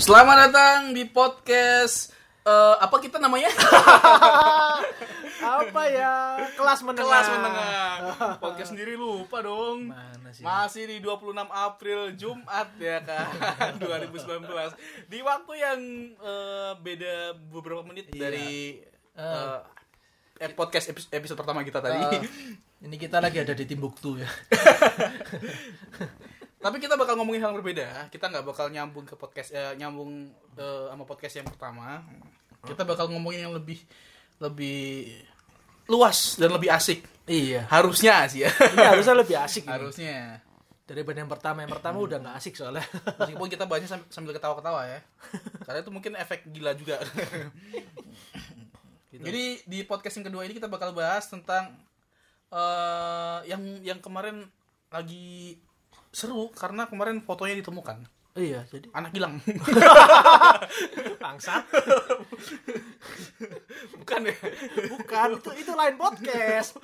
Selamat datang di podcast eh, apa kita namanya? apa ya kelas menengah Kelas menengah. Podcast sendiri lupa dong. Mana sih? Masih di 26 April Jumat ya kan 2019 di waktu yang eh, beda beberapa menit dari eh, eh, podcast episode, episode pertama kita tadi. Eh, ini kita lagi ada di Timbuktu ya Tapi kita bakal ngomongin hal yang berbeda. Kita nggak bakal nyambung ke podcast eh, nyambung eh, sama podcast yang pertama. Kita bakal ngomongin yang lebih lebih luas dan lebih asik. iya Harusnya sih ya. ini Iya, harusnya lebih asik ini. Harusnya. daripada yang pertama yang pertama udah nggak asik soalnya Meskipun kita bahasnya sam- sambil ketawa-ketawa ya. Karena itu mungkin efek gila juga. Jadi di podcast yang kedua ini kita bakal bahas tentang eh yang yang kemarin lagi seru karena kemarin fotonya ditemukan. iya jadi Anak hilang. bangsa Bukan ya. bukan itu itu lain podcast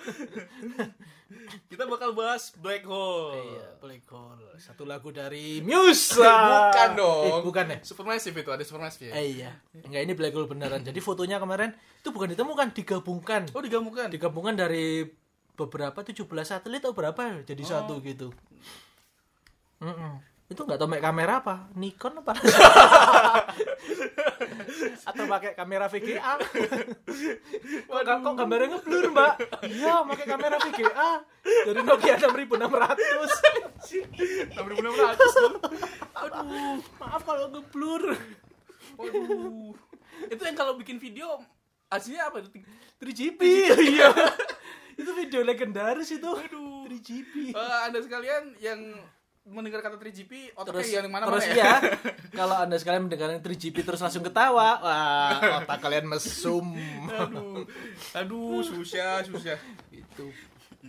Kita bakal bahas black hole. iya black hole satu lagu dari Muse Eh, bukan dong. Eh, bukan ya Supermassive itu ada supermassive ya. eh, iya enggak ini black hole beneran jadi fotonya kemarin itu bukan ditemukan digabungkan Oh digabungkan. digabungkan dari beberapa 17 satelit atau berapa jadi satu gitu. Mm-mm. Itu nggak tahu pakai kamera apa, Nikon apa? atau pakai kamera VGA? Waduh. Kok gambarnya ngeblur mbak? Iya, pakai kamera VGA dari Nokia 6600. 6600 dong. Aduh, maaf kalau ngeblur. Waduh. Itu yang kalau bikin video aslinya apa? 3GB. Iya. itu video legendaris itu. Aduh. 3GB. Eh, anda sekalian yang mendengar kata 3GP otaknya terus yang mana terus mana ya kalau anda sekalian mendengarkan 3GP terus langsung ketawa wah otak kalian mesum aduh aduh susah susah itu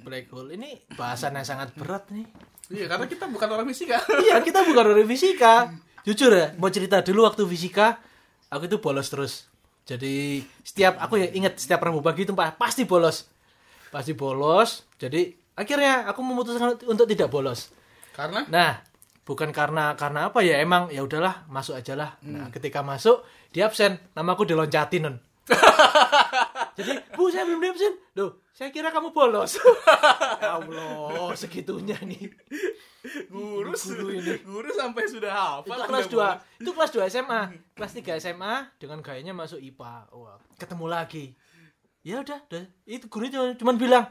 black hole ini bahasan yang sangat berat nih iya karena kita bukan orang ya. fisika iya kita bukan dari fisika jujur ya mau cerita dulu waktu fisika aku itu bolos terus jadi setiap aku ya ingat setiap rabu pagi itu pa- pasti bolos pasti bolos jadi akhirnya aku memutuskan untuk tidak bolos karena Nah, bukan karena karena apa ya emang ya udahlah masuk aja lah. Nah, ketika masuk dia absen, namaku diloncatin non. Jadi, bu saya belum di absen. Loh, saya kira kamu bolos. ya Allah, segitunya nih. guru Guru ini. guru sampai sudah hafal Itu Anda kelas bawa. 2, itu kelas 2 SMA. Kelas 3 SMA dengan gayanya masuk IPA. Wah, ketemu lagi. Ya udah, udah. itu guru cuma, cuman bilang,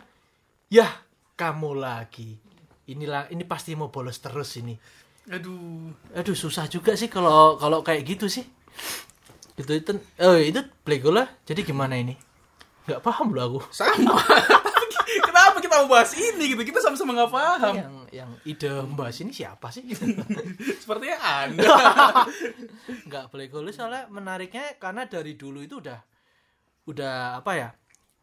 "Yah, kamu lagi. Inilah ini pasti mau bolos terus ini." aduh Aduh susah juga sih kalau kalau kayak gitu sih. Itu itu oh itu black hole lah. Jadi gimana ini? Gak paham loh aku. sama kenapa kita mau bahas ini gitu kita sama-sama nggak paham Yang yang ide membahas ini siapa sih? sepertinya anda Gak black hole soalnya menariknya karena dari dulu itu udah udah apa ya?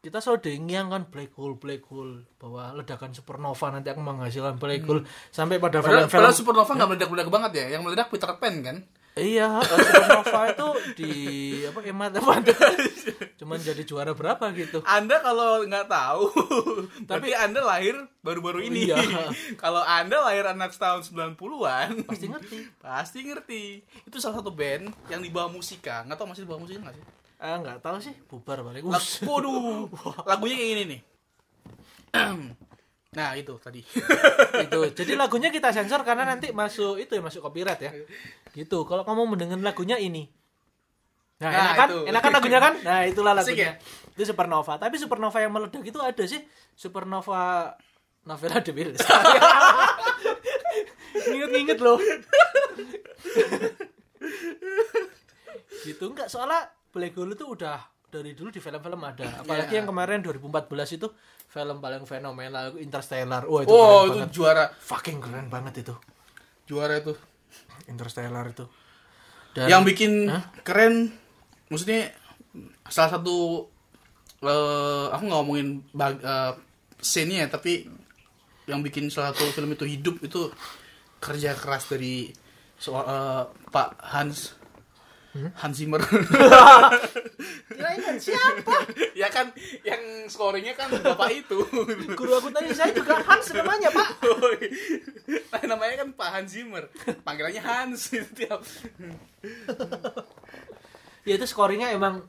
Kita selalu diinginkan kan, black hole black hole bahwa ledakan supernova nanti akan menghasilkan black hole sampai pada Hmm. padahal, film-film padahal supernova nggak meledak-meledak banget ya yang meledak Peter Pan kan Iya, eh, supernova itu di apa ya mata-mata cuman jadi juara berapa gitu. Anda kalau nggak tahu, tapi Anda lahir baru-baru ini. Iya. kalau Anda lahir anak tahun 90-an, Pasti ngerti. pasti ngerti. Itu salah satu band yang di bawah musika. Nggak tahu masih di bawah musika nggak sih? Ah nggak tahu sih, bubar balik. Lag- Us. Waduh, lagunya kayak gini nih. nah itu tadi. itu. Jadi lagunya kita sensor karena nanti masuk itu ya masuk copyright ya. Gitu. Kalau kamu mendengar lagunya ini. Nah, Nah, enak kan? itu. Enak kan lagunya kan? Nah, itulah Asik ya? lagunya. Itu Supernova. Tapi Supernova yang meledak itu ada sih. Supernova Novela de Wilde. Ingat-ingat loh. gitu enggak soalnya Black Hole itu udah dari dulu di film-film ada apalagi Iya. yang kemarin 2014 itu film paling fenomenal Interstellar wah itu Oh keren itu banget. juara, fucking keren banget itu juara itu. Interstellar itu Yang bikin keren, maksudnya salah satu. eh, aku nggak ngomongin bag, eh, scene-nya, tapi yang bikin salah satu film itu hidup itu kerja keras dari soal Pak eh, Hans Hans Zimmer Kirain kan siapa? ya kan yang scoringnya kan bapak itu Guru aku tadi saya juga Hans namanya, Pak. nah, namanya kan Pak Hans Zimmer panggilannya Hans itu tiap Ya itu scoringnya emang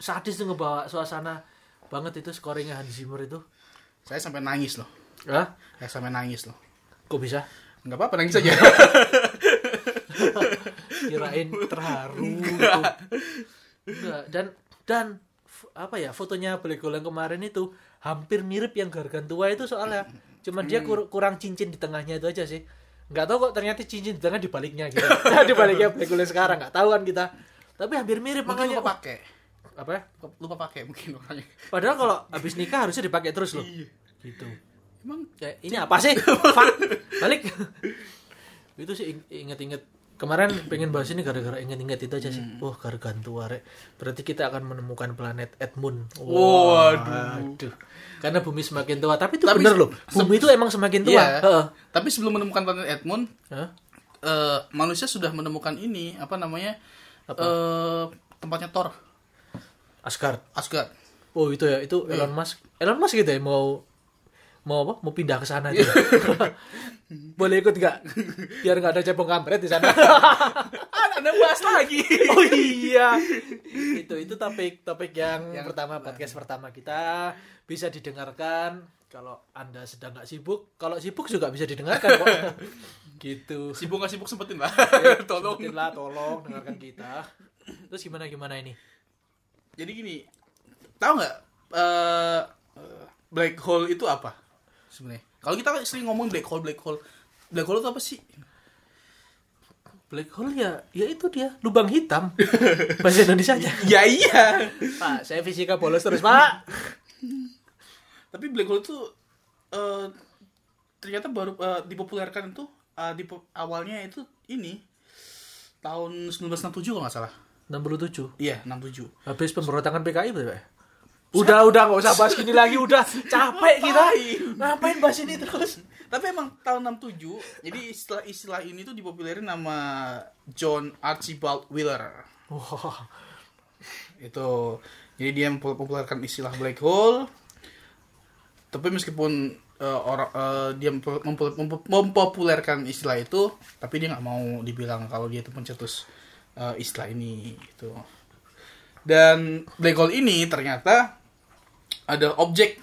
sadis sadis tuh ngebawa suasana banget itu scoringnya Hans Zimmer itu. saya sampai nangis loh Hah? saya sampai nangis loh Kok bisa? nggak apa-apa nangis aja Kirain terharu. gitu. Enggak. Dan dan f- apa ya fotonya Belegolang kemarin itu hampir mirip yang Gargantua itu soalnya. Cuman dia kur- kurang cincin di tengahnya itu aja sih. Nggak tahu kok ternyata cincin di tengah dibaliknya gitu. dibaliknya Belegolang sekarang nggak tahu kan kita. Tapi hampir mirip mungkin makanya. lupa pakai Apa ya? lupa pakai mungkin orangnya Padahal kalau habis nikah harusnya dipakai terus loh. Iya. Gitu. emang Kayak, ini apa sih? Fuck. Balik. itu sih ing- inget-inget kemarin pengen bahas ini gara-gara inget-inget itu aja sih. Hmm. Wah, gargantua rek. Berarti kita akan menemukan planet Edmund. Waduh. Waduh. Karena bumi semakin tua, tapi itu Tapi bener se- loh. Bumi itu emang semakin tua. Iya. Heeh. tapi sebelum menemukan planet Edmund Hah? eh, manusia sudah menemukan ini apa namanya eh, tempatnya Thor Asgard. Asgard Oh, itu ya. Itu Iya. Elon Musk. Elon Musk gitu ya mau mau apa? Mau pindah ke sana gitu. Boleh ikut nggak? Biar nggak ada cebong kampret di sana. ah anda bahas lagi Oh iya. itu itu topik topik yang, Yang- pertama podcast pertama kita bisa didengarkan kalau Anda sedang nggak sibuk, kalau sibuk juga bisa didengarkan kok. gitu. sibuk nggak sibuk sempetin lah tolong Sebutinlah, tolong dengarkan kita. Terus gimana gimana ini? jadi gini tahu nggak eh, eh, black hole itu apa sebenarnya kalau kita sering ngomong black hole black hole black hole itu apa sih Black hole ya, ya itu dia lubang hitam bahasa Indonesia aja. ya iya Pak, saya fisika bolos terus Pak. tapi black hole itu eh, ternyata baru eh, dipopulerkan itu eh, dipo- awalnya itu ini tahun 1967 kalau nggak salah 67. iya 67 Habis pemberontakan PKI berapa? ya? Udah, udah nggak usah bahas gini lagi, udah capek kita. Ngapain bahas ini terus? tapi emang tahun 67 jadi istilah-istilah ini tuh dipopulerin sama John Archibald Wheeler Wah, itu jadi dia mempopulerkan istilah black hole tapi meskipun eh, orang eh, dia mempo- mempo- mempo- mempopulerkan istilah itu tapi dia nggak mau dibilang kalau dia itu pencetus eh, istilah ini gitu dan black hole ini ternyata ada objek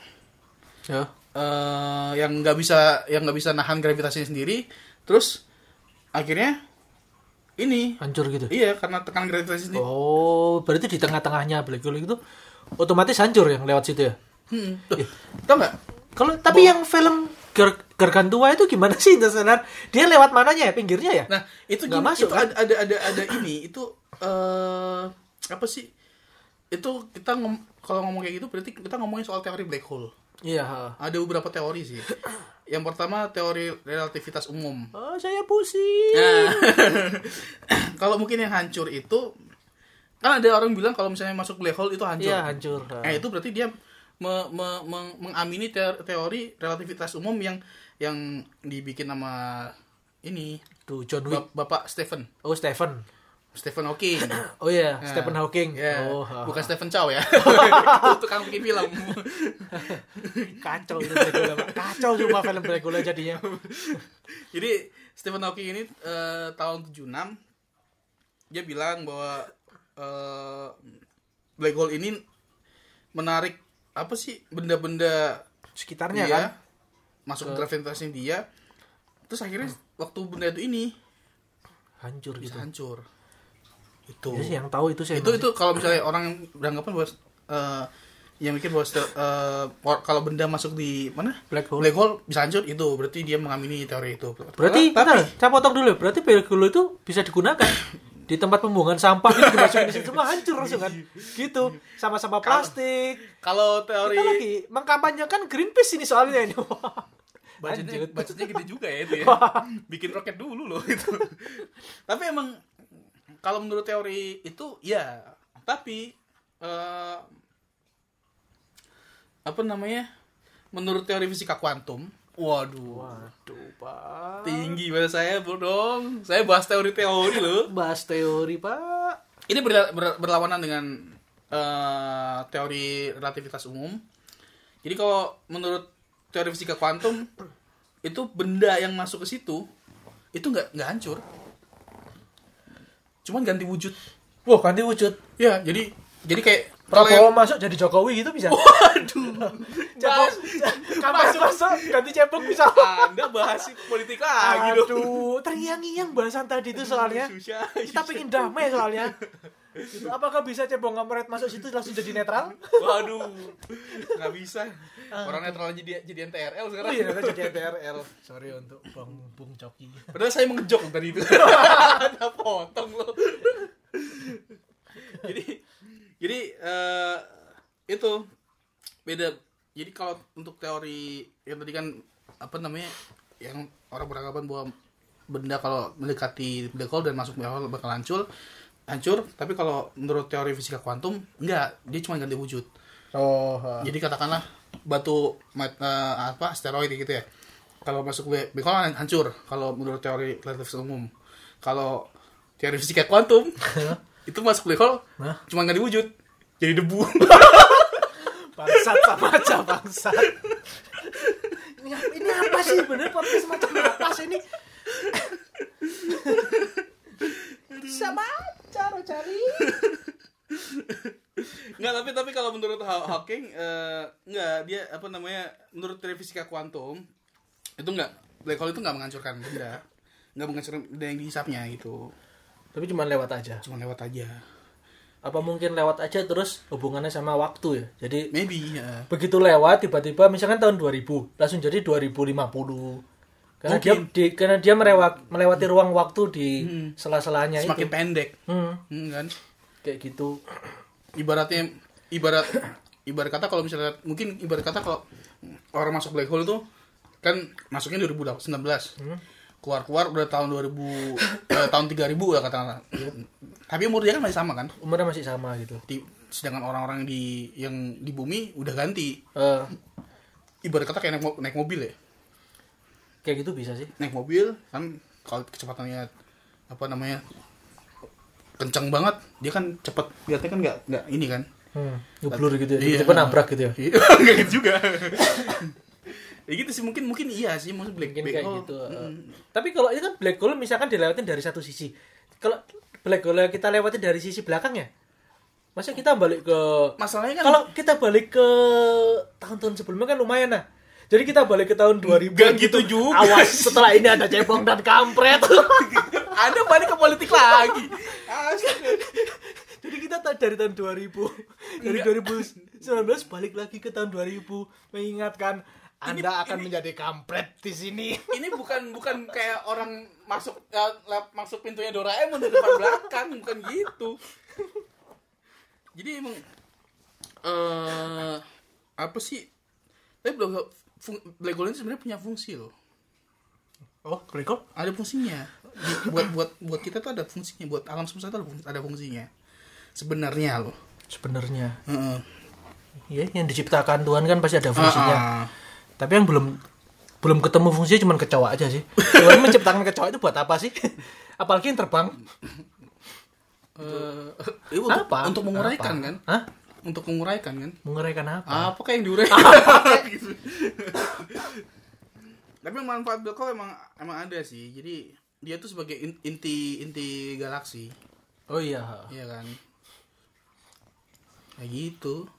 ya. eh, yang nggak bisa yang nggak bisa nahan gravitasinya sendiri terus akhirnya ini hancur gitu. iya karena tekanan gravitasi sendiri Oh, berarti di tengah-tengahnya black hole itu otomatis hancur yang lewat situ ya. Hmm, tuh, tau nggak Kalau tapi yang film Gar Gargantua itu gimana sih Interstellar? Dia lewat mananya ya? Pinggirnya ya? Nah, itu Nggak gini, masuk, itu kan? ada, ada ada ada ini, itu eh apa sih? Itu kita ngom- kalau ngomong kayak gitu berarti kita ngomongin soal teori black hole. Iya. ha. Ada beberapa teori sih. Yang pertama teori relativitas umum. Oh, saya pusing. Nah, kalau mungkin yang hancur itu kan ada orang bilang kalau misalnya masuk black hole itu hancur. Iya, hancur. Ha. Nah, itu berarti dia me- me- meng- mengamini teori, teori relativitas umum yang yang dibikin sama ini Tuh John Wick. Bap- Bapak Stephen Oh, Stephen. Stephen Hawking. Oh iya, Stephen Hawking. Ya, Oh, ha. bukan Stephen Chow ya. Itu tukang bikin film. kacau itu Dracula, Pak. Kacau gitu, cuma film Dracula jadinya. Jadi Stephen Hawking ini eh, tahun 76 dia bilang bahwa eh, black hole ini menarik apa sih benda-benda Sekitarnya dia kan. masuk ke gravitasi dia. Terus akhirnya Hmm. waktu benda itu ini Hancur gitu. bisa hancur. Itu. Ya sih, yang tahu itu saya. itu itu kalau misalnya orang yang beranggapan bahwa eh, yang mikir bahwa eh, por- kalau benda masuk di mana Black hole. black hole bisa hancur itu berarti dia mengamini teori itu Berarti tapi bentar, saya potong dulu. Berarti Bergulo itu bisa digunakan di tempat pembuangan sampah itu dimasukin di situ semua hancur langsung kan. Gitu. Sama-sama plastik. kalau Kita teori lagi mengkampanyekan Greenpeace ini soalnya ini. budgetnya Lanjut. budgetnya gede juga ya itu ya bikin roket dulu loh itu tapi emang kalau menurut teori itu ya tapi eh, apa namanya menurut teori fisika kuantum waduh Waduh, Pak. tinggi bahasa saya bu dong saya bahas teori teori loh Bahas teori, Pak. ini berla- ber- berlawanan dengan eh, teori relativitas umum. Jadi kalau menurut teori fisika kuantum itu benda yang masuk ke situ itu nggak nggak hancur, cuman ganti wujud. Wah, ganti wujud. Ya, jadi jadi kayak kalau yang- Prabowo masuk jadi Jokowi gitu bisa. Waduh, Cepuk, bahas, kampret masuk ganti cepuk bisa. Ah, gitu. Anda bahas politik lagi dong. Aduh, teriang-iang bahasan tadi itu soalnya. Susah, susah. Kita pengen damai soalnya. Gitu. Apakah bisa cebong kampret masuk situ langsung jadi netral? Waduh, nggak bisa. Orang netral aja jadi, jadi NTRL sekarang. Oh iya, ternyata jadi TRL. Sorry untuk Bang Bung Coki. Padahal saya mengejok tadi itu. Ada potong lo. jadi jadi eh, itu beda. Jadi kalau untuk teori yang tadi kan apa namanya yang orang beranggapan bahwa benda kalau mendekati black hole dan masuk black hole bakal hancur hancur tapi kalau menurut teori fisika kuantum enggak dia cuma ganti wujud Oh, jadi katakanlah batu mat- eh, apa asteroid gitu ya kalau masuk black black hole hancur kalau menurut teori relativitas umum kalau teori fisika kuantum itu masuk black hole Hah? cuma nggak diwujud jadi debu bangsat sama aja bangsat. ini, ap- ini apa sih bener podcast macam apa sih ini? sama cara cari. nggak tapi tapi kalau menurut Haw- Hawking eh, nggak dia apa namanya menurut teori fisika kuantum itu nggak black hole itu nggak menghancurkan benda nggak menghancurkan benda yang dihisapnya gitu Tapi cuma lewat aja. cuma lewat aja Apa mungkin lewat aja terus hubungannya sama waktu ya? Jadi maybe ya. begitu lewat tiba-tiba misalkan tahun 2000 langsung jadi 2050 karena dia Mungkin. Hmm. di- karena dia melewat, melewati ruang waktu di sela-selanya semakin Ya, itu pendek Hmm, Hmm, kan kayak gitu ibaratnya ibarat ibarat kata kalau misalnya mungkin ibarat kata kalau orang masuk black hole itu kan masuknya 2019 keluar keluar udah tahun 2000 eh, tahun 3000 lah katakanlah tapi umur dia kan masih sama kan umurnya masih sama gitu Di- sedangkan orang-orang di yang di bumi udah ganti Eh, ibarat kata kayak naik, mo- naik mobil ya kayak gitu bisa sih naik mobil kan kalau kecepatannya apa namanya kencang banget dia kan cepet lihatnya kan nggak nggak ini kan hmm, ngeblur gitu ya Iya. tiba-tiba nabrak gitu ya Iya, nggak gitu juga. ya gitu sih mungkin mungkin iya sih maksud black mungkin black kayak hole. gitu eh. Hmm. tapi kalau itu kan black hole misalkan dilewatin dari satu sisi kalau black hole kita lewatin dari sisi belakang ya masa kita balik ke Masalahnya kan kalau kita balik ke tahun-tahun sebelumnya kan lumayan nah jadi kita balik ke tahun 2000 Nggak gitu juga awas setelah ini ada cebong dan kampret Ada balik ke politik lagi. Astaga. jadi kita ta- dari tahun 2000 dari 2019 balik lagi ke tahun 2000 mengingatkan anda akan menjadi kampret di sini Ini bukan bukan kayak orang masuk eh, lap- masuk pintunya Doraemon dari depan belakang, bukan gitu. Jadi emang eh apa sih? Tapi black hole- fung- black hole ini sebenarnya punya fungsi loh. oh Grego ada fungsinya Di- buat buat buat kita tuh ada fungsinya buat alam semesta tuh ada fung- ada fungsinya sebenarnya loh sebenarnya Heeh. ya yang diciptakan Tuhan kan pasti Ah, ada fungsinya Heeh. tapi yang belum belum ketemu fungsinya cuma kecoa aja sih Tuhan menciptakan kecoa itu buat apa sih apalagi yang terbang Eh, eh, untuk, apa untuk menguraikan Apa? kan Hah? untuk menguraikan kan menguraikan apa apa kayak yang diuraikan gitu tapi manfaat black hole emang emang ada sih jadi dia tuh sebagai in- inti inti galaksi oh iya Iya kan kayak gitu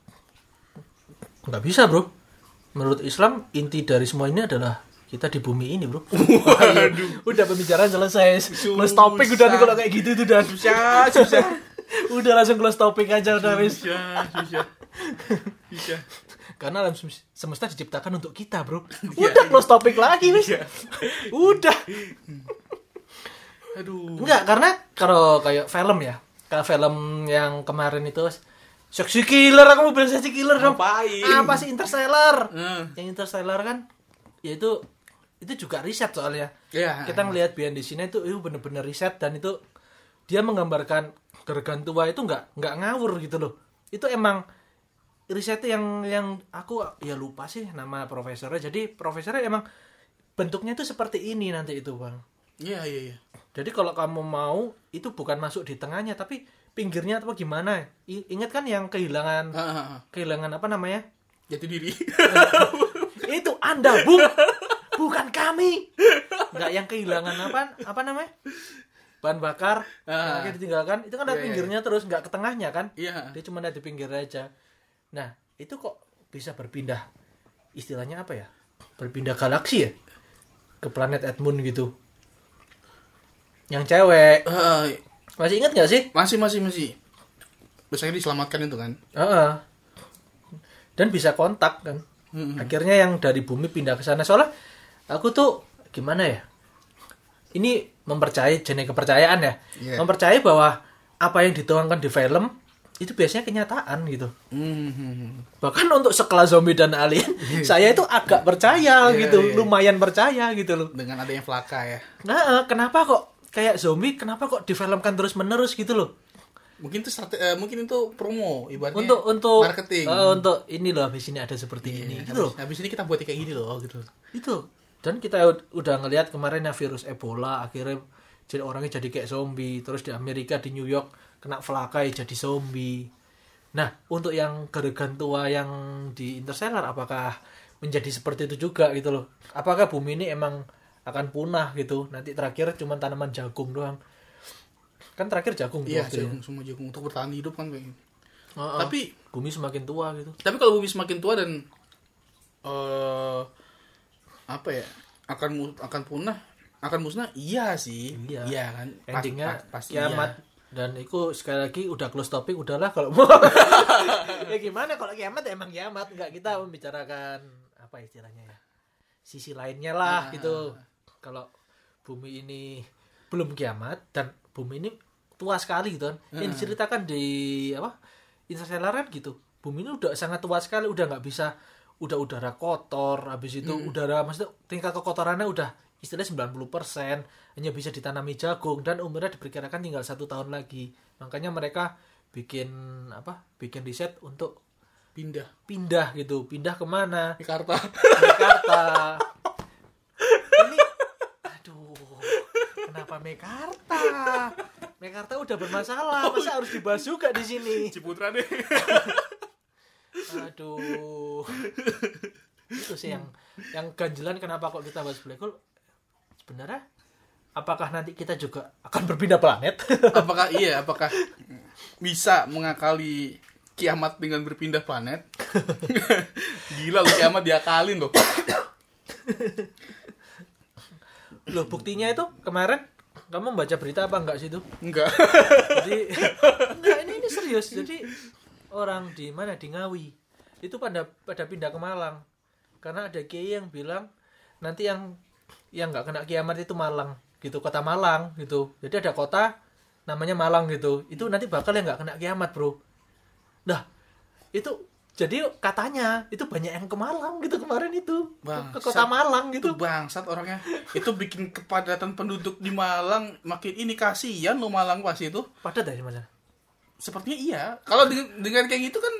nggak bisa bro menurut Islam inti dari semua ini adalah kita di bumi ini bro waduh udah pembicaraan selesai close topic udah nih kalau kayak gitu tuh dan susah susah udah langsung close topic aja udah wis susah susah susah karena alam sem- semesta diciptakan untuk kita bro Iya, udah close topic lagi wis udah aduh enggak karena kalau kayak film ya kalau film yang kemarin itu Seksi killer, aku mau bilang seksi killer dong. Ngapain? Apa sih Interstellar? Eh. Yang Interstellar kan, yaitu itu juga riset soalnya. Ya, kita ngelihat Bian di sini itu itu bener-bener riset dan itu dia menggambarkan gergan tua itu nggak nggak ngawur gitu loh itu emang risetnya yang yang aku ya lupa sih nama profesornya jadi profesornya emang bentuknya itu seperti ini nanti itu bang Iya iya iya. jadi kalau kamu mau itu bukan masuk di tengahnya tapi pinggirnya atau gimana I- ingat kan yang kehilangan kehilangan apa namanya Jati diri. itu anda bung bukan kami nggak yang kehilangan apa apa namanya bahan bakar Ah. yang akhirnya ditinggalkan itu kan Iya, ada iya, pinggirnya terus nggak ke tengahnya kan Iya. dia cuma ada di pinggir aja nah itu kok bisa berpindah istilahnya apa ya berpindah galaksi ya ke planet Edmund gitu yang cewek Eh, masih ingat nggak sih masih masih masih. Terus akhirnya diselamatkan itu kan. Heeh. dan bisa kontak kan Mm-mm. akhirnya yang dari bumi pindah ke sana soalnya aku tuh gimana ya ini mempercayai jenis kepercayaan ya Iya. mempercayai bahwa apa yang dituangkan di film itu biasanya kenyataan gitu hmm. Mhm. bahkan untuk sekelas zombie dan alien saya itu agak percaya Iya, gitu iya. lumayan percaya gitu loh Dengan adanya Flaka ya. nah eh, kenapa kok kayak zombie kenapa kok difilmkan terus menerus gitu loh Mungkin itu strate- eh, mungkin itu promo ibaratnya. untuk untuk marketing. eh, untuk ini loh habis ini ada seperti ini Iya, habis, gitu loh habis ini kita buat kayak gini loh gitu. itu dan kita ud- udah ngelihat kemarin ya virus Ebola akhirnya jadi orangnya jadi kayak zombie terus di Amerika di New York kena flakai jadi zombie nah untuk yang geregan tua yang di Interstellar apakah menjadi seperti itu juga gitu loh apakah bumi ini emang akan punah gitu nanti terakhir cuma tanaman jagung doang kan terakhir jagung tuh Iya, waktu Oh. jagung semua jagung untuk bertahan hidup kan kayak. gitu. Heeh. Tapi bumi semakin tua gitu tapi kalau bumi semakin tua dan eh apa ya akan mu- akan punah akan musnah iya sih Iya. kan Pas- endingnya pas- pasti kiamat iya. dan itu sekali lagi udah close topik udahlah kalau mau ya gimana kalau kiamat ya emang kiamat nggak kita membicarakan apa istilahnya ya sisi lainnya lah Ya. gitu kalau bumi ini belum kiamat dan bumi ini tua sekali gitu kan yang diceritakan di apa interstellar kan gitu bumi ini udah sangat tua sekali udah nggak bisa udah udara kotor habis itu udara maksudnya tingkat kekotorannya udah istilahnya 90% hanya bisa ditanami jagung dan umurnya diperkirakan tinggal satu tahun lagi makanya mereka bikin apa bikin riset untuk pindah pindah gitu pindah kemana Jakarta Mekarta ini aduh kenapa Mekarta Mekarta udah bermasalah masa harus dibahas juga di sini Ciputra deh aduh itu sih yang yang ganjelan kenapa kok kita bahas black hole sebenarnya apakah nanti kita juga akan berpindah planet apakah iya apakah bisa mengakali kiamat dengan berpindah planet gila lu kiamat diakalin loh loh buktinya itu kemarin kamu membaca berita apa enggak sih itu enggak jadi enggak ini ini serius jadi orang di mana di Ngawi itu pada pada pindah ke Malang karena ada kiai yang bilang nanti yang yang nggak kena kiamat itu Malang gitu kota Malang gitu jadi ada kota namanya Malang gitu itu nanti bakal yang nggak kena kiamat bro nah itu jadi katanya itu banyak yang ke Malang gitu kemarin itu Ke- ke kota Bangsat. Malang itu gitu bangsat orangnya itu bikin kepadatan penduduk di Malang makin ini kasihan lo Malang pasti itu padat ya dari mana sepertinya iya kalau dengan, dengan kayak gitu kan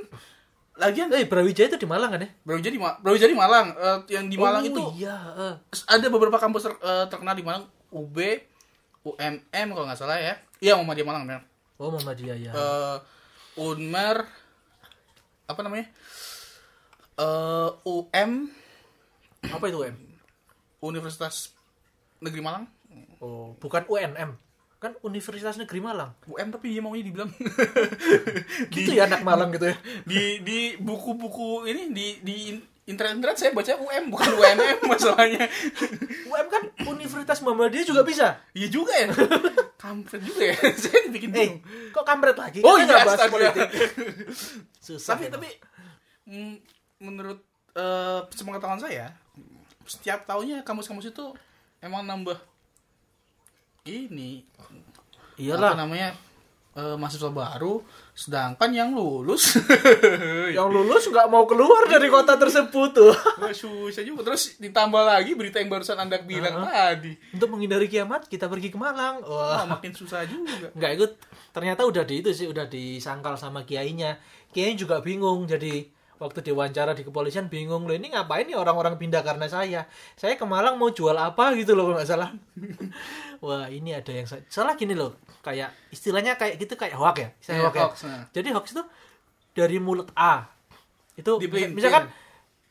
lagian eh Brawijaya itu di Malang kan ya Brawijaya di, Ma- Brawijaya di Malang Eh, yang di Malang Oh, itu iya eh. ada beberapa kampus ter- eh, terkenal di Malang UB UMM kalau nggak salah ya iya Muhammadiyah Malang benar oh Muhammadiyah ya Eh, Unmer apa namanya Eh, UM apa itu UM Universitas Negeri Malang Oh, bukan UNM. Kan Universitas Negeri Malang. UM tapi dia maunya dibilang Gitu ya anak Malang gitu ya. di di buku-buku ini di di internet-internet saya baca UM bukan UMM masalahnya UM kan Universitas Muhammadiyah juga bisa. Iya juga ya. Kampret juga ya. Saya dibikin bingung. Eh, kok kampret lagi? Oh, Kita iya, nggak bahas astaga. politik. Susah. tapi emang. tapi mm, menurut eh sepengetahuan saya setiap tahunnya kamus-kamus itu emang nambah ini iyalah apa namanya eh, mahasiswa baru sedangkan yang lulus ya, yang lulus nggak mau keluar dari kota tersebut tuh. Wah, susah juga terus ditambah lagi berita yang barusan anda bilang tadi Untuk menghindari kiamat, kita pergi ke Malang. Wah, Wah. makin susah juga Nggak ikut. Ternyata udah di itu sih, udah disangkal sama kiainya. Kiainya juga bingung. Jadi, waktu diwawancara di kepolisian bingung loh ini ngapain nih orang-orang pindah karena saya saya ke Malang mau jual apa gitu loh kalau nggak salah wah ini ada yang sa- salah gini loh kayak istilahnya kayak gitu kayak hoax ya istilah Iya, hoax ya. hoax, nah. jadi hoax itu dari mulut A itu Dipelintir. misalkan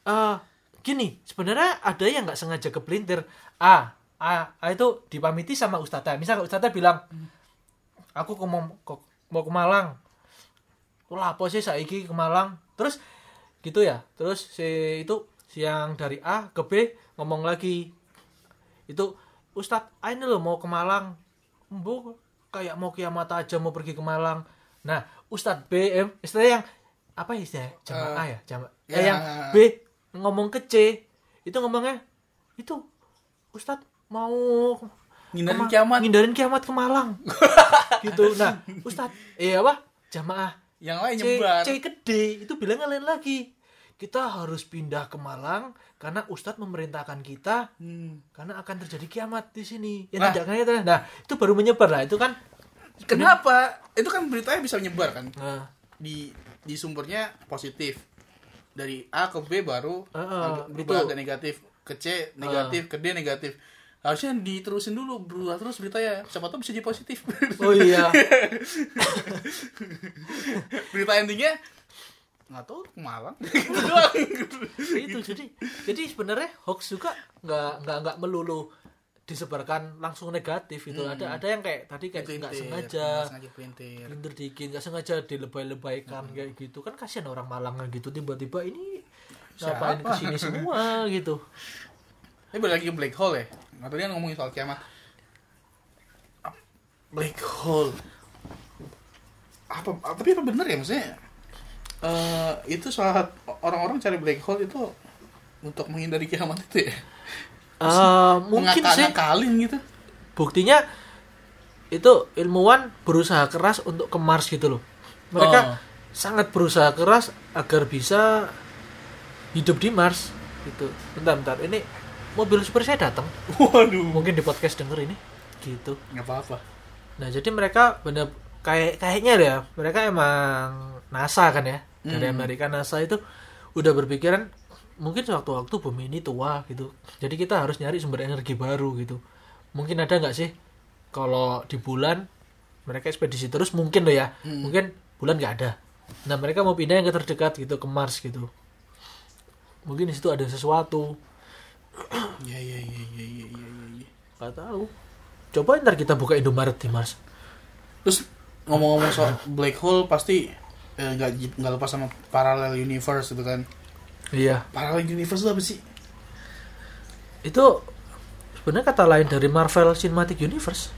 eh gini sebenarnya ada yang nggak sengaja kepelintir A A A itu dipamiti sama ustadzah misalnya ustadzah bilang aku ke mau ke- mau ke Malang Lu lapo sih saiki ke Malang terus gitu ya terus si itu siang dari A ke B ngomong lagi itu Ustadz ah ini loh mau ke Malang bu kayak mau kiamat aja mau pergi ke Malang nah Ustadz B eh, istilah yang apa istilahnya jamaah ya jamaah ya. eh, yang B ngomong ke C itu ngomongnya itu Ustadz mau Ngindarin kema- kiamat. ngindarin kiamat ke Malang gitu nah Ustadz eh apa jamaah Yang lain C, nyebar. C gede itu bilangnya lain lagi kita harus pindah ke Malang karena Ustadz memerintahkan kita Hmm. karena akan terjadi kiamat di sini ya Nah. tidak kayaknya tidak. nah itu baru menyebar lah itu kan Kenapa? Itu kan beritanya bisa menyebar kan. nah, Di di sumbernya positif. Dari A ke B baru Ah, ah, agak- berubah itu. agak negatif. Ke C negatif, ke D negatif. Harusnya diterusin dulu, berubah terus beritanya. Siapa tahu bisa jadi positif. oh iya Berita endingnya nggak tahu ke Malang. gitu doang. itu jadi jadi sebenarnya hoax juga nggak nggak nggak melulu disebarkan langsung negatif itu ada ada yang kayak tadi kayak nggak Pelintir, sengaja Hmm. nggak sengaja Hmm. pelintir. Pinter dikit nggak sengaja dilebay-lebaykan kayak gitu kan kasihan orang Malang gitu tiba-tiba ini ngapain Siapa? kesini semua gitu Ini balik lagi ke black hole ya. Nggak tadi kan ngomongin soal kiamat. Black hole. Apa, apa- tapi apa bener ya maksudnya? eh itu saat orang-orang cari black hole itu untuk menghindari kiamat itu ya. Eh, mungkin sih Mengakal-akalin gitu. buktinya itu ilmuwan berusaha keras untuk ke Mars gitu loh Oh. mereka sangat berusaha keras agar bisa hidup di Mars gitu bentar bentar ini mobil super saya datang Oh. Waduh. mungkin di podcast denger ini gitu Nggak apa-apa. Nah, jadi mereka bener kayak kayaknya ya, mereka emang NASA kan ya. Dari Amerika NASA itu udah berpikiran mungkin sewaktu-waktu bumi ini tua gitu. Jadi kita harus nyari sumber energi baru gitu. Mungkin ada nggak sih kalau di bulan mereka ekspedisi terus mungkin loh ya. Mungkin bulan nggak ada. Nah, mereka mau pindah yang ke terdekat gitu ke Mars gitu. Mungkin di situ ada sesuatu. Iya, iya, iya, iya, iya, iya. iya. Gak tahu. Coba ntar kita buka Indomaret di Mars. Terus ngomong-ngomong soal black hole pasti eh, nggak nggak lepas sama parallel universe gitu kan. Iya. Parallel universe itu apa sih? itu sebenarnya kata lain dari Marvel Cinematic Universe.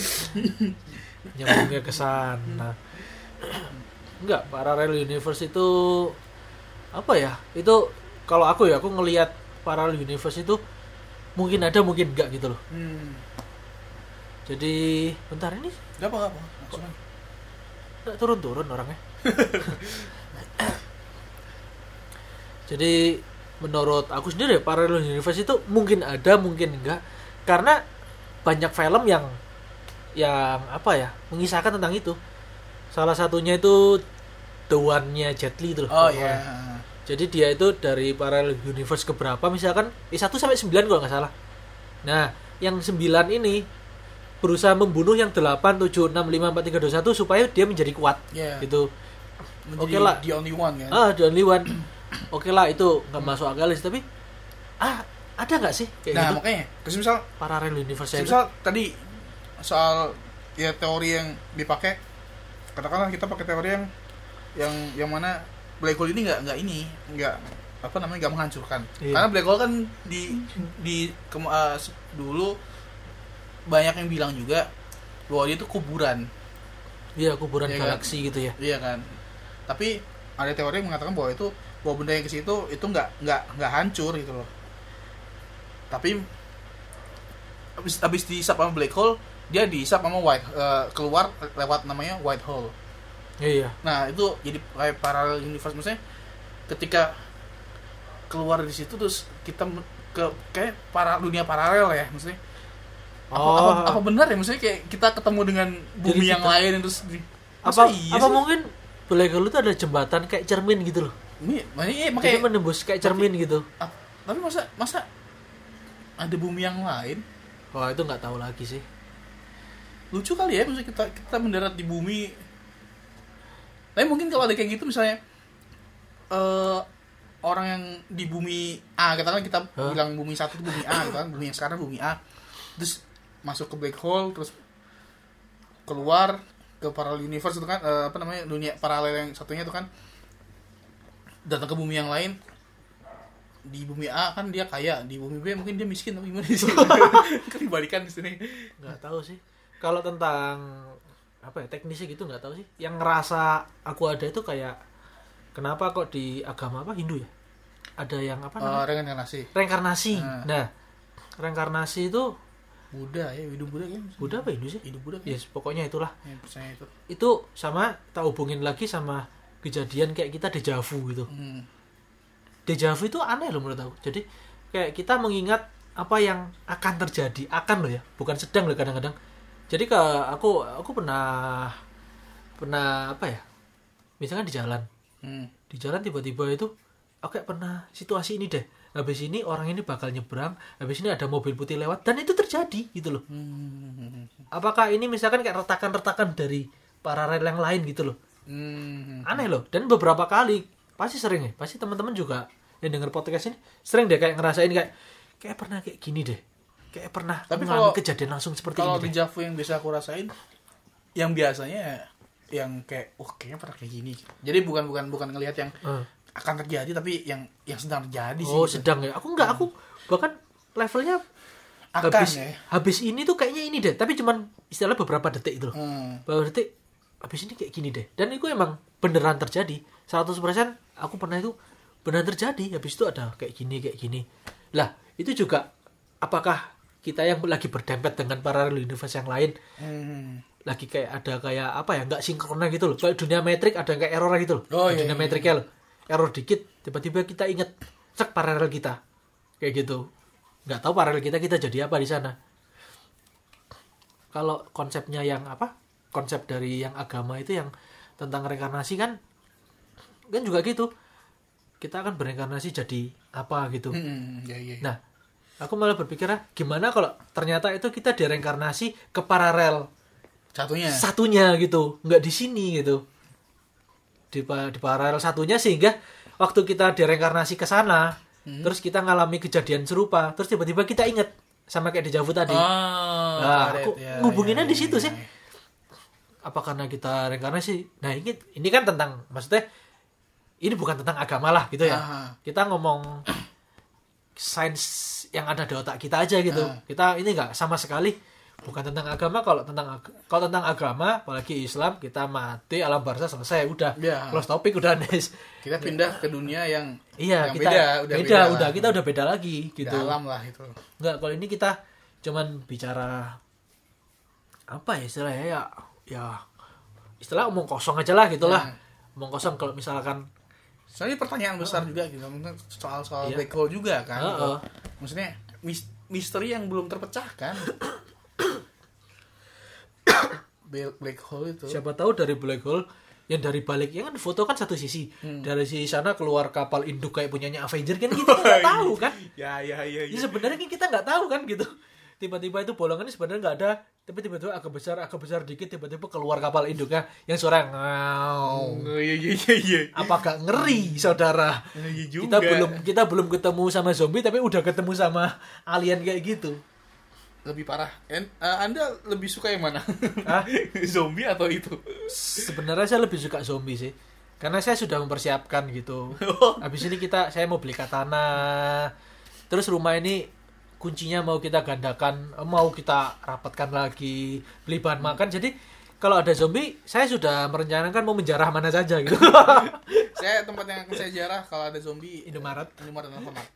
Waduh. Nyambungnya ke sana. Nah, Enggak, parallel universe itu apa ya? Itu kalau aku ya aku ngelihat parallel universe itu mungkin ada mungkin enggak gitu loh. Hmm. Jadi bentar ini Gak apa, gak apa. Langsung aja. Nggak turun-turun orangnya. Jadi menurut aku sendiri ya, parallel universe itu mungkin ada, mungkin enggak. Karena banyak film yang yang apa ya, mengisahkan tentang itu. Salah satunya itu The One-nya Jet Li itu loh. Oh The iya. One. Jadi dia itu dari parallel universe ke berapa misalkan eh, 1 sampai 9 kalau nggak salah. Nah, yang 9 ini berusaha membunuh yang 8 7 6 5 4 3 2 1 supaya dia menjadi kuat Iya. gitu. Menjadi Oke lah. The only one kan. Ah, the only one. Oke lah itu nggak masuk akal sih, tapi ah ada nggak sih kayak nah, gitu makanya. Terus misal, paralel universe itu? misal tadi soal ya teori yang dipakai katakanlah kita pakai teori yang yang yang mana black hole ini nggak nggak ini nggak apa namanya nggak menghancurkan Iya. karena black hole kan di di kema- eh, se- dulu banyak yang bilang juga bahwa dia itu kuburan Iya, kuburan Iya kan? galaksi gitu ya. Iya kan. Tapi ada teori yang mengatakan bahwa itu bahwa benda yang ke situ itu nggak nggak nggak hancur gitu loh. Tapi habis habis dihisap sama black hole, dia dihisap sama white eh, keluar lewat namanya white hole. Iya. Nah, itu jadi kayak paralel universe maksudnya ketika keluar dari situ terus kita men- ke kayak para dunia paralel ya maksudnya apa, Oh. apa, apa benar ya maksudnya kayak kita ketemu dengan bumi Jadi yang kita- lain terus di, apa Masa iya apa sih? mungkin Black hole itu ada jembatan kayak cermin gitu loh. Ini, ini Jadi makanya menembus kayak cermin gitu. Ah, tapi masa masa ada bumi yang lain? Wah, itu nggak tahu lagi sih. Lucu kali ya maksudnya kita kita mendarat di bumi. Tapi mungkin kalau ada kayak gitu misalnya eh orang yang di bumi A, katakan kita Hah? bilang bumi satu itu bumi A, katakan bumi yang sekarang bumi A. Terus masuk ke black hole terus keluar ke parallel universe itu kan eh, apa namanya dunia paralel yang satunya itu kan datang ke bumi yang lain di bumi A kan dia kaya di bumi B mungkin dia miskin atau gimana sih kan dibalikan di sini nggak tahu sih kalau tentang apa ya teknisnya gitu nggak tahu sih yang ngerasa aku ada itu kayak kenapa kok di agama apa Hindu ya ada yang apa namanya Eh, reinkarnasi reinkarnasi Ah. nah reinkarnasi itu Buddha ya hidup Buddha kan Buddha apa Iya. Hindu sih hidup Buddha kan yes pokoknya itulah yang percaya itu itu sama tak hubungin lagi sama kejadian kayak kita dejavu gitu hmm. dejavu itu aneh loh menurut aku jadi kayak kita mengingat apa yang akan terjadi akan loh ya bukan sedang loh kadang-kadang jadi ke aku aku pernah pernah apa ya misalkan di jalan Hmm. di jalan tiba-tiba itu aku kayak pernah situasi ini deh habis ini orang ini bakal nyebrang habis ini ada mobil putih lewat dan itu terjadi gitu loh Hmm. apakah ini misalkan kayak retakan-retakan dari para rel yang lain gitu loh Hmm. aneh loh dan beberapa kali pasti sering ya pasti teman-teman juga yang denger podcast ini sering deh kayak ngerasain kayak kayak pernah kayak gini deh kayak pernah Tapi kalau- mengalami kejadian langsung seperti kalau ini deh. dejavu yang biasa aku rasain yang biasanya yang kayak wah kayaknya pernah kayak gini jadi bukan bukan bukan ngelihat yang Eh. akan terjadi tapi yang yang sedang terjadi sih oh gitu. sedang ya aku nggak aku bahkan levelnya akan habis ya habis ini tuh kayaknya ini deh tapi cuman istilah beberapa detik itu loh hmm. beberapa detik habis ini kayak gini deh dan itu emang beneran terjadi 100% aku pernah itu beneran terjadi habis itu ada kayak gini kayak gini lah itu juga apakah kita yang lagi berdempet dengan paralel universe yang lain Hmm. lagi kayak ada kayak apa ya nggak sinkronnya gitu loh kayak dunia metrik ada yang kayak error gitu loh Oh, Kayak iya, dunia iya, metriknya loh error dikit tiba-tiba kita inget cek paralel kita kayak gitu nggak tahu paralel kita kita jadi apa di sana kalau konsepnya yang apa konsep dari yang agama itu yang tentang reinkarnasi kan kan juga gitu kita akan bereinkarnasi jadi apa gitu Hmm, ya, ya, ya. Nah, aku malah berpikir ah, gimana kalau ternyata itu kita direinkarnasi ke paralel Satunya. ya? satunya gitu, nggak di sini gitu. Di, pa- di paralel satunya sehingga waktu kita direinkarnasi ke sana, terus kita ngalami kejadian serupa, terus tiba-tiba kita inget sama kayak dejavu tadi. Ah, ya. Nah, got it. aku Ya, ngubunginnya ya, di situ ya, sih. ya. Apa karena kita reinkarnasi? Nah, ini ini kan tentang maksudnya ini bukan tentang agama lah gitu ya. Aha. Kita ngomong sains yang ada di otak kita aja gitu. Ah. Kita ini nggak sama sekali bukan tentang agama kalau tentang ag- kalau tentang agama apalagi Islam kita mati alam barza selesai udah Ya. close topik udah Nes. Kita pindah ke dunia yang Iya, yang kita beda, udah beda lah. udah kita udah beda lagi gitu. dalam lah itu. Enggak, kalau ini kita cuman bicara apa ya istilahnya ya ya istilah omong kosong aja lah gitulah. Ya. Omong kosong kalau misalkan Soalnya pertanyaan besar juga gitu, mungkin soal-soal Iya. black hole juga kan. gitu. Heeh. Maksudnya mis- misteri yang belum kan. terpecahkan. Bel- black hole itu. siapa tahu dari black hole yang dari baliknya kan foto kan satu sisi. Hmm. Dari sisi sana keluar kapal induk kayak punyanya Avenger kan kita nggak tahu kan. Ya ya ya. Ya sebenarnya kan kita nggak tahu kan gitu. Tiba-tiba itu bolongannya sebenarnya nggak ada, tapi tiba-tiba agak besar, agak besar dikit, tiba-tiba keluar kapal induknya yang suara ngau. Iya iya iya iya. Apakah ngeri, saudara? Iya kita belum kita belum ketemu sama zombie tapi udah ketemu sama alien kayak gitu lebih parah. And, eh, anda lebih suka yang mana? Hah? Zombie atau itu? sebenarnya saya lebih suka zombie sih karena saya sudah mempersiapkan gitu Oh. habis ini kita saya mau beli katana terus rumah ini kuncinya mau kita gandakan eh, mau kita rapatkan lagi beli bahan makan jadi kalau ada zombie saya sudah merencanakan mau menjarah mana saja gitu saya tempat yang akan saya jarah kalau ada zombie Indomaret Indomaret dan Alfamart.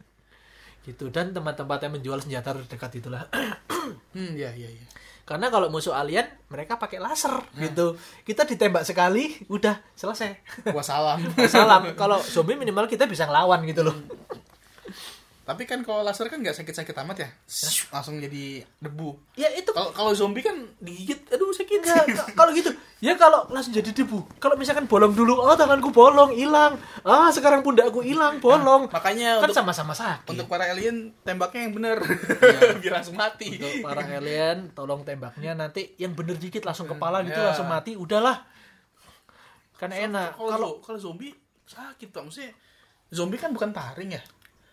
gitu dan tempat-tempat yang menjual senjata dekat itulah Hmm, ya, ya, ya. Karena kalau musuh alien mereka pakai laser gitu. Kita ditembak sekali, udah selesai. Wassalam. Salam. kalau zombie minimal kita bisa ngelawan gitu loh. Tapi kan kalau laser kan nggak sakit-sakit amat ya. Langsung jadi debu. Ya itu Oh, Kalau kalau zombie kan digigit, aduh sakit. enggak, kalau gitu. Ya kalau langsung jadi debu. Kalau misalkan bolong dulu, oh tanganku bolong, hilang. Ah, sekarang pundakku hilang, bolong. Makanya Nah, Kan untuk sama-sama sakit. Iya. untuk para alien tembaknya yang bener biar langsung mati. Untuk para alien, tolong tembaknya nanti yang bener dikit langsung kepala gitu Ya. langsung mati, udahlah. Kan enak. Kalau Kalau kalau zombie sakit tuh maksudnya zombie kan bukan taring ya.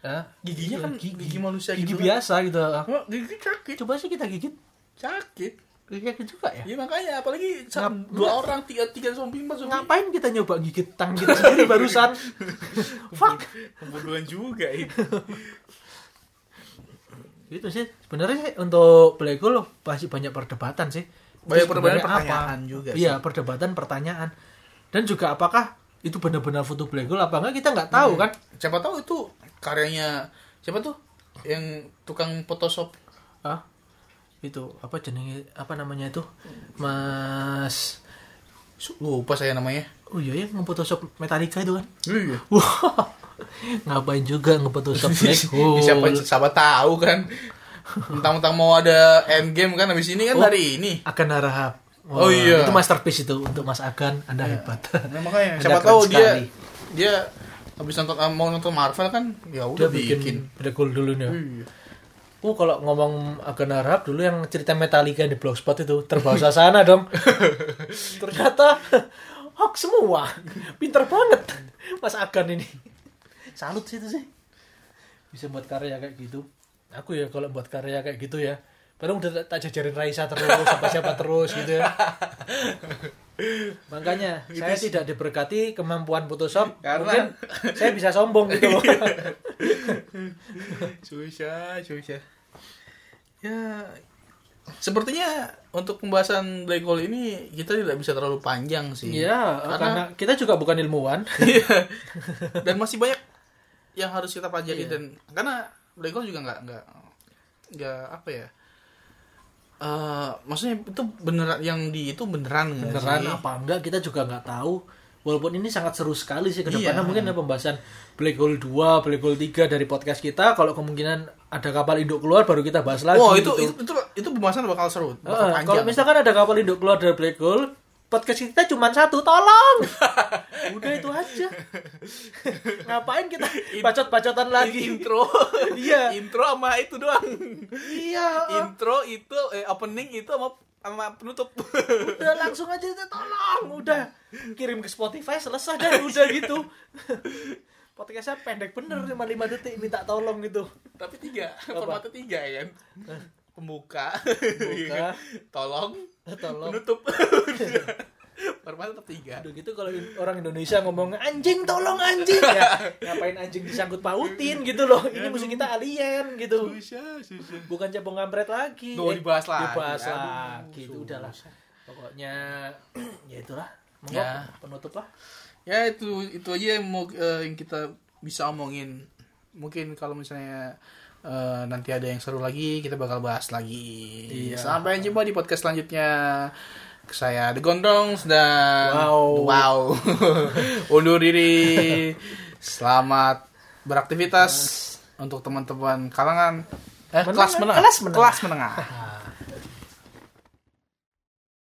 Hah? Giginya kan gigi, manusia gigi gitu. kan. biasa gitu. Cuma Gigi sakit. Coba sih kita gigit, Sakit. gigit juga ya. Ya makanya apalagi sa- Ngap- dua orang tiga tiga zombie empat zombie. Ngapain kita nyoba gigit tangan kita sendiri barusan? Fuck. Pembunuhan juga itu. Gitu sih. Sebenarnya sih untuk Black Hole masih banyak perdebatan sih. Banyak Itu perdebatan, sebenarnya pertanyaan juga sih. Iya, perdebatan pertanyaan. Dan juga apakah itu benar-benar foto Black Hole apa enggak kita nggak Iya. tahu kan? Siapa tahu itu karyanya siapa tuh yang tukang Photoshop Ah. Itu apa jenenge apa namanya itu? Mas Su- lupa saya namanya. Oh iya ya, nge-photoshop Metallica itu kan. Iya. Wah. Ngapain juga nge-photoshop Black Hole? siapa siapa tahu kan. Mentang-mentang mau ada endgame kan habis ini kan Oh. dari ini. Akan Harahap. Oh iya. Itu masterpiece itu untuk Mas Agan, Anda hebat. Nah, makanya Anda siapa keren tahu sekali. dia dia habis nonton mau nonton Marvel kan ya dia udah bikin, bikin. Black Hole dulu nih. ya. Iya. Uh, kalau ngomong Agan Harahap dulu yang cerita Metallica di Blogspot itu terbawa sana dong. Ternyata hoax semua. Pinter banget Mas Agan ini. Salut sih itu sih. Bisa buat karya kayak gitu. Aku ya kalau buat karya kayak gitu ya. Padahal udah tak- tak jajarin Raisa terus, siapa-siapa terus gitu ya. Makanya saya tidak diberkati kemampuan Photoshop. Karena- Mungkin saya bisa sombong gitu loh. Susah, susah. Ya, sepertinya untuk pembahasan black hole ini kita tidak bisa terlalu panjang sih. Iya, karena, karena kita juga bukan ilmuwan. Iya. dan masih banyak yang harus kita pelajari dan karena black hole juga nggak nggak nggak apa ya. Eh, maksudnya itu beneran yang di itu beneran nggak Beneran Iya sih? apa enggak kita juga nggak tahu. Walaupun ini sangat seru sekali sih ke depannya Iya. mungkin ada pembahasan Black Hole 2, Black Hole 3 dari podcast kita. Kalau kemungkinan ada kapal induk keluar baru kita bahas lagi. Wah, itu, gitu. itu itu itu pembahasan bakal seru, Eh, bakal panjang. kalau misalkan ada kapal induk keluar dari Black Hole, podcast kita cuma satu, tolong. Udah itu aja. Ngapain kita bacot-bacotan lagi? intro Iya. intro sama itu doang iya. eh, intro itu eh, opening itu sama sama penutup udah langsung aja kita tolong udah kirim ke Spotify selesai dan udah gitu podcastnya pendek bener cuma lima detik minta tolong gitu tapi tiga formatnya tiga ya kan pembuka, Pembuka. Iya. tolong tolong penutup formatnya tetap tiga udah gitu kalau in- orang Indonesia ngomong anjing tolong anjing ya ngapain anjing disangkut pautin gitu loh ini musuh kita alien gitu susah susah bukan cabang kampret lagi Tuh, dibahas lagi. dibahas Aduh, lagi itu udahlah pokoknya ya itulah Monggo, Ya. penutup lah ya itu itu aja yang mau eh, yang kita bisa omongin mungkin kalau misalnya eh, nanti ada yang seru lagi kita bakal bahas lagi Iya. sampai jumpa di podcast selanjutnya saya The Gondrongs dan Wow. wow. undur diri selamat beraktivitas untuk teman-teman kalangan eh, Menengah. kelas menengah Kelas menengah. kelas menengah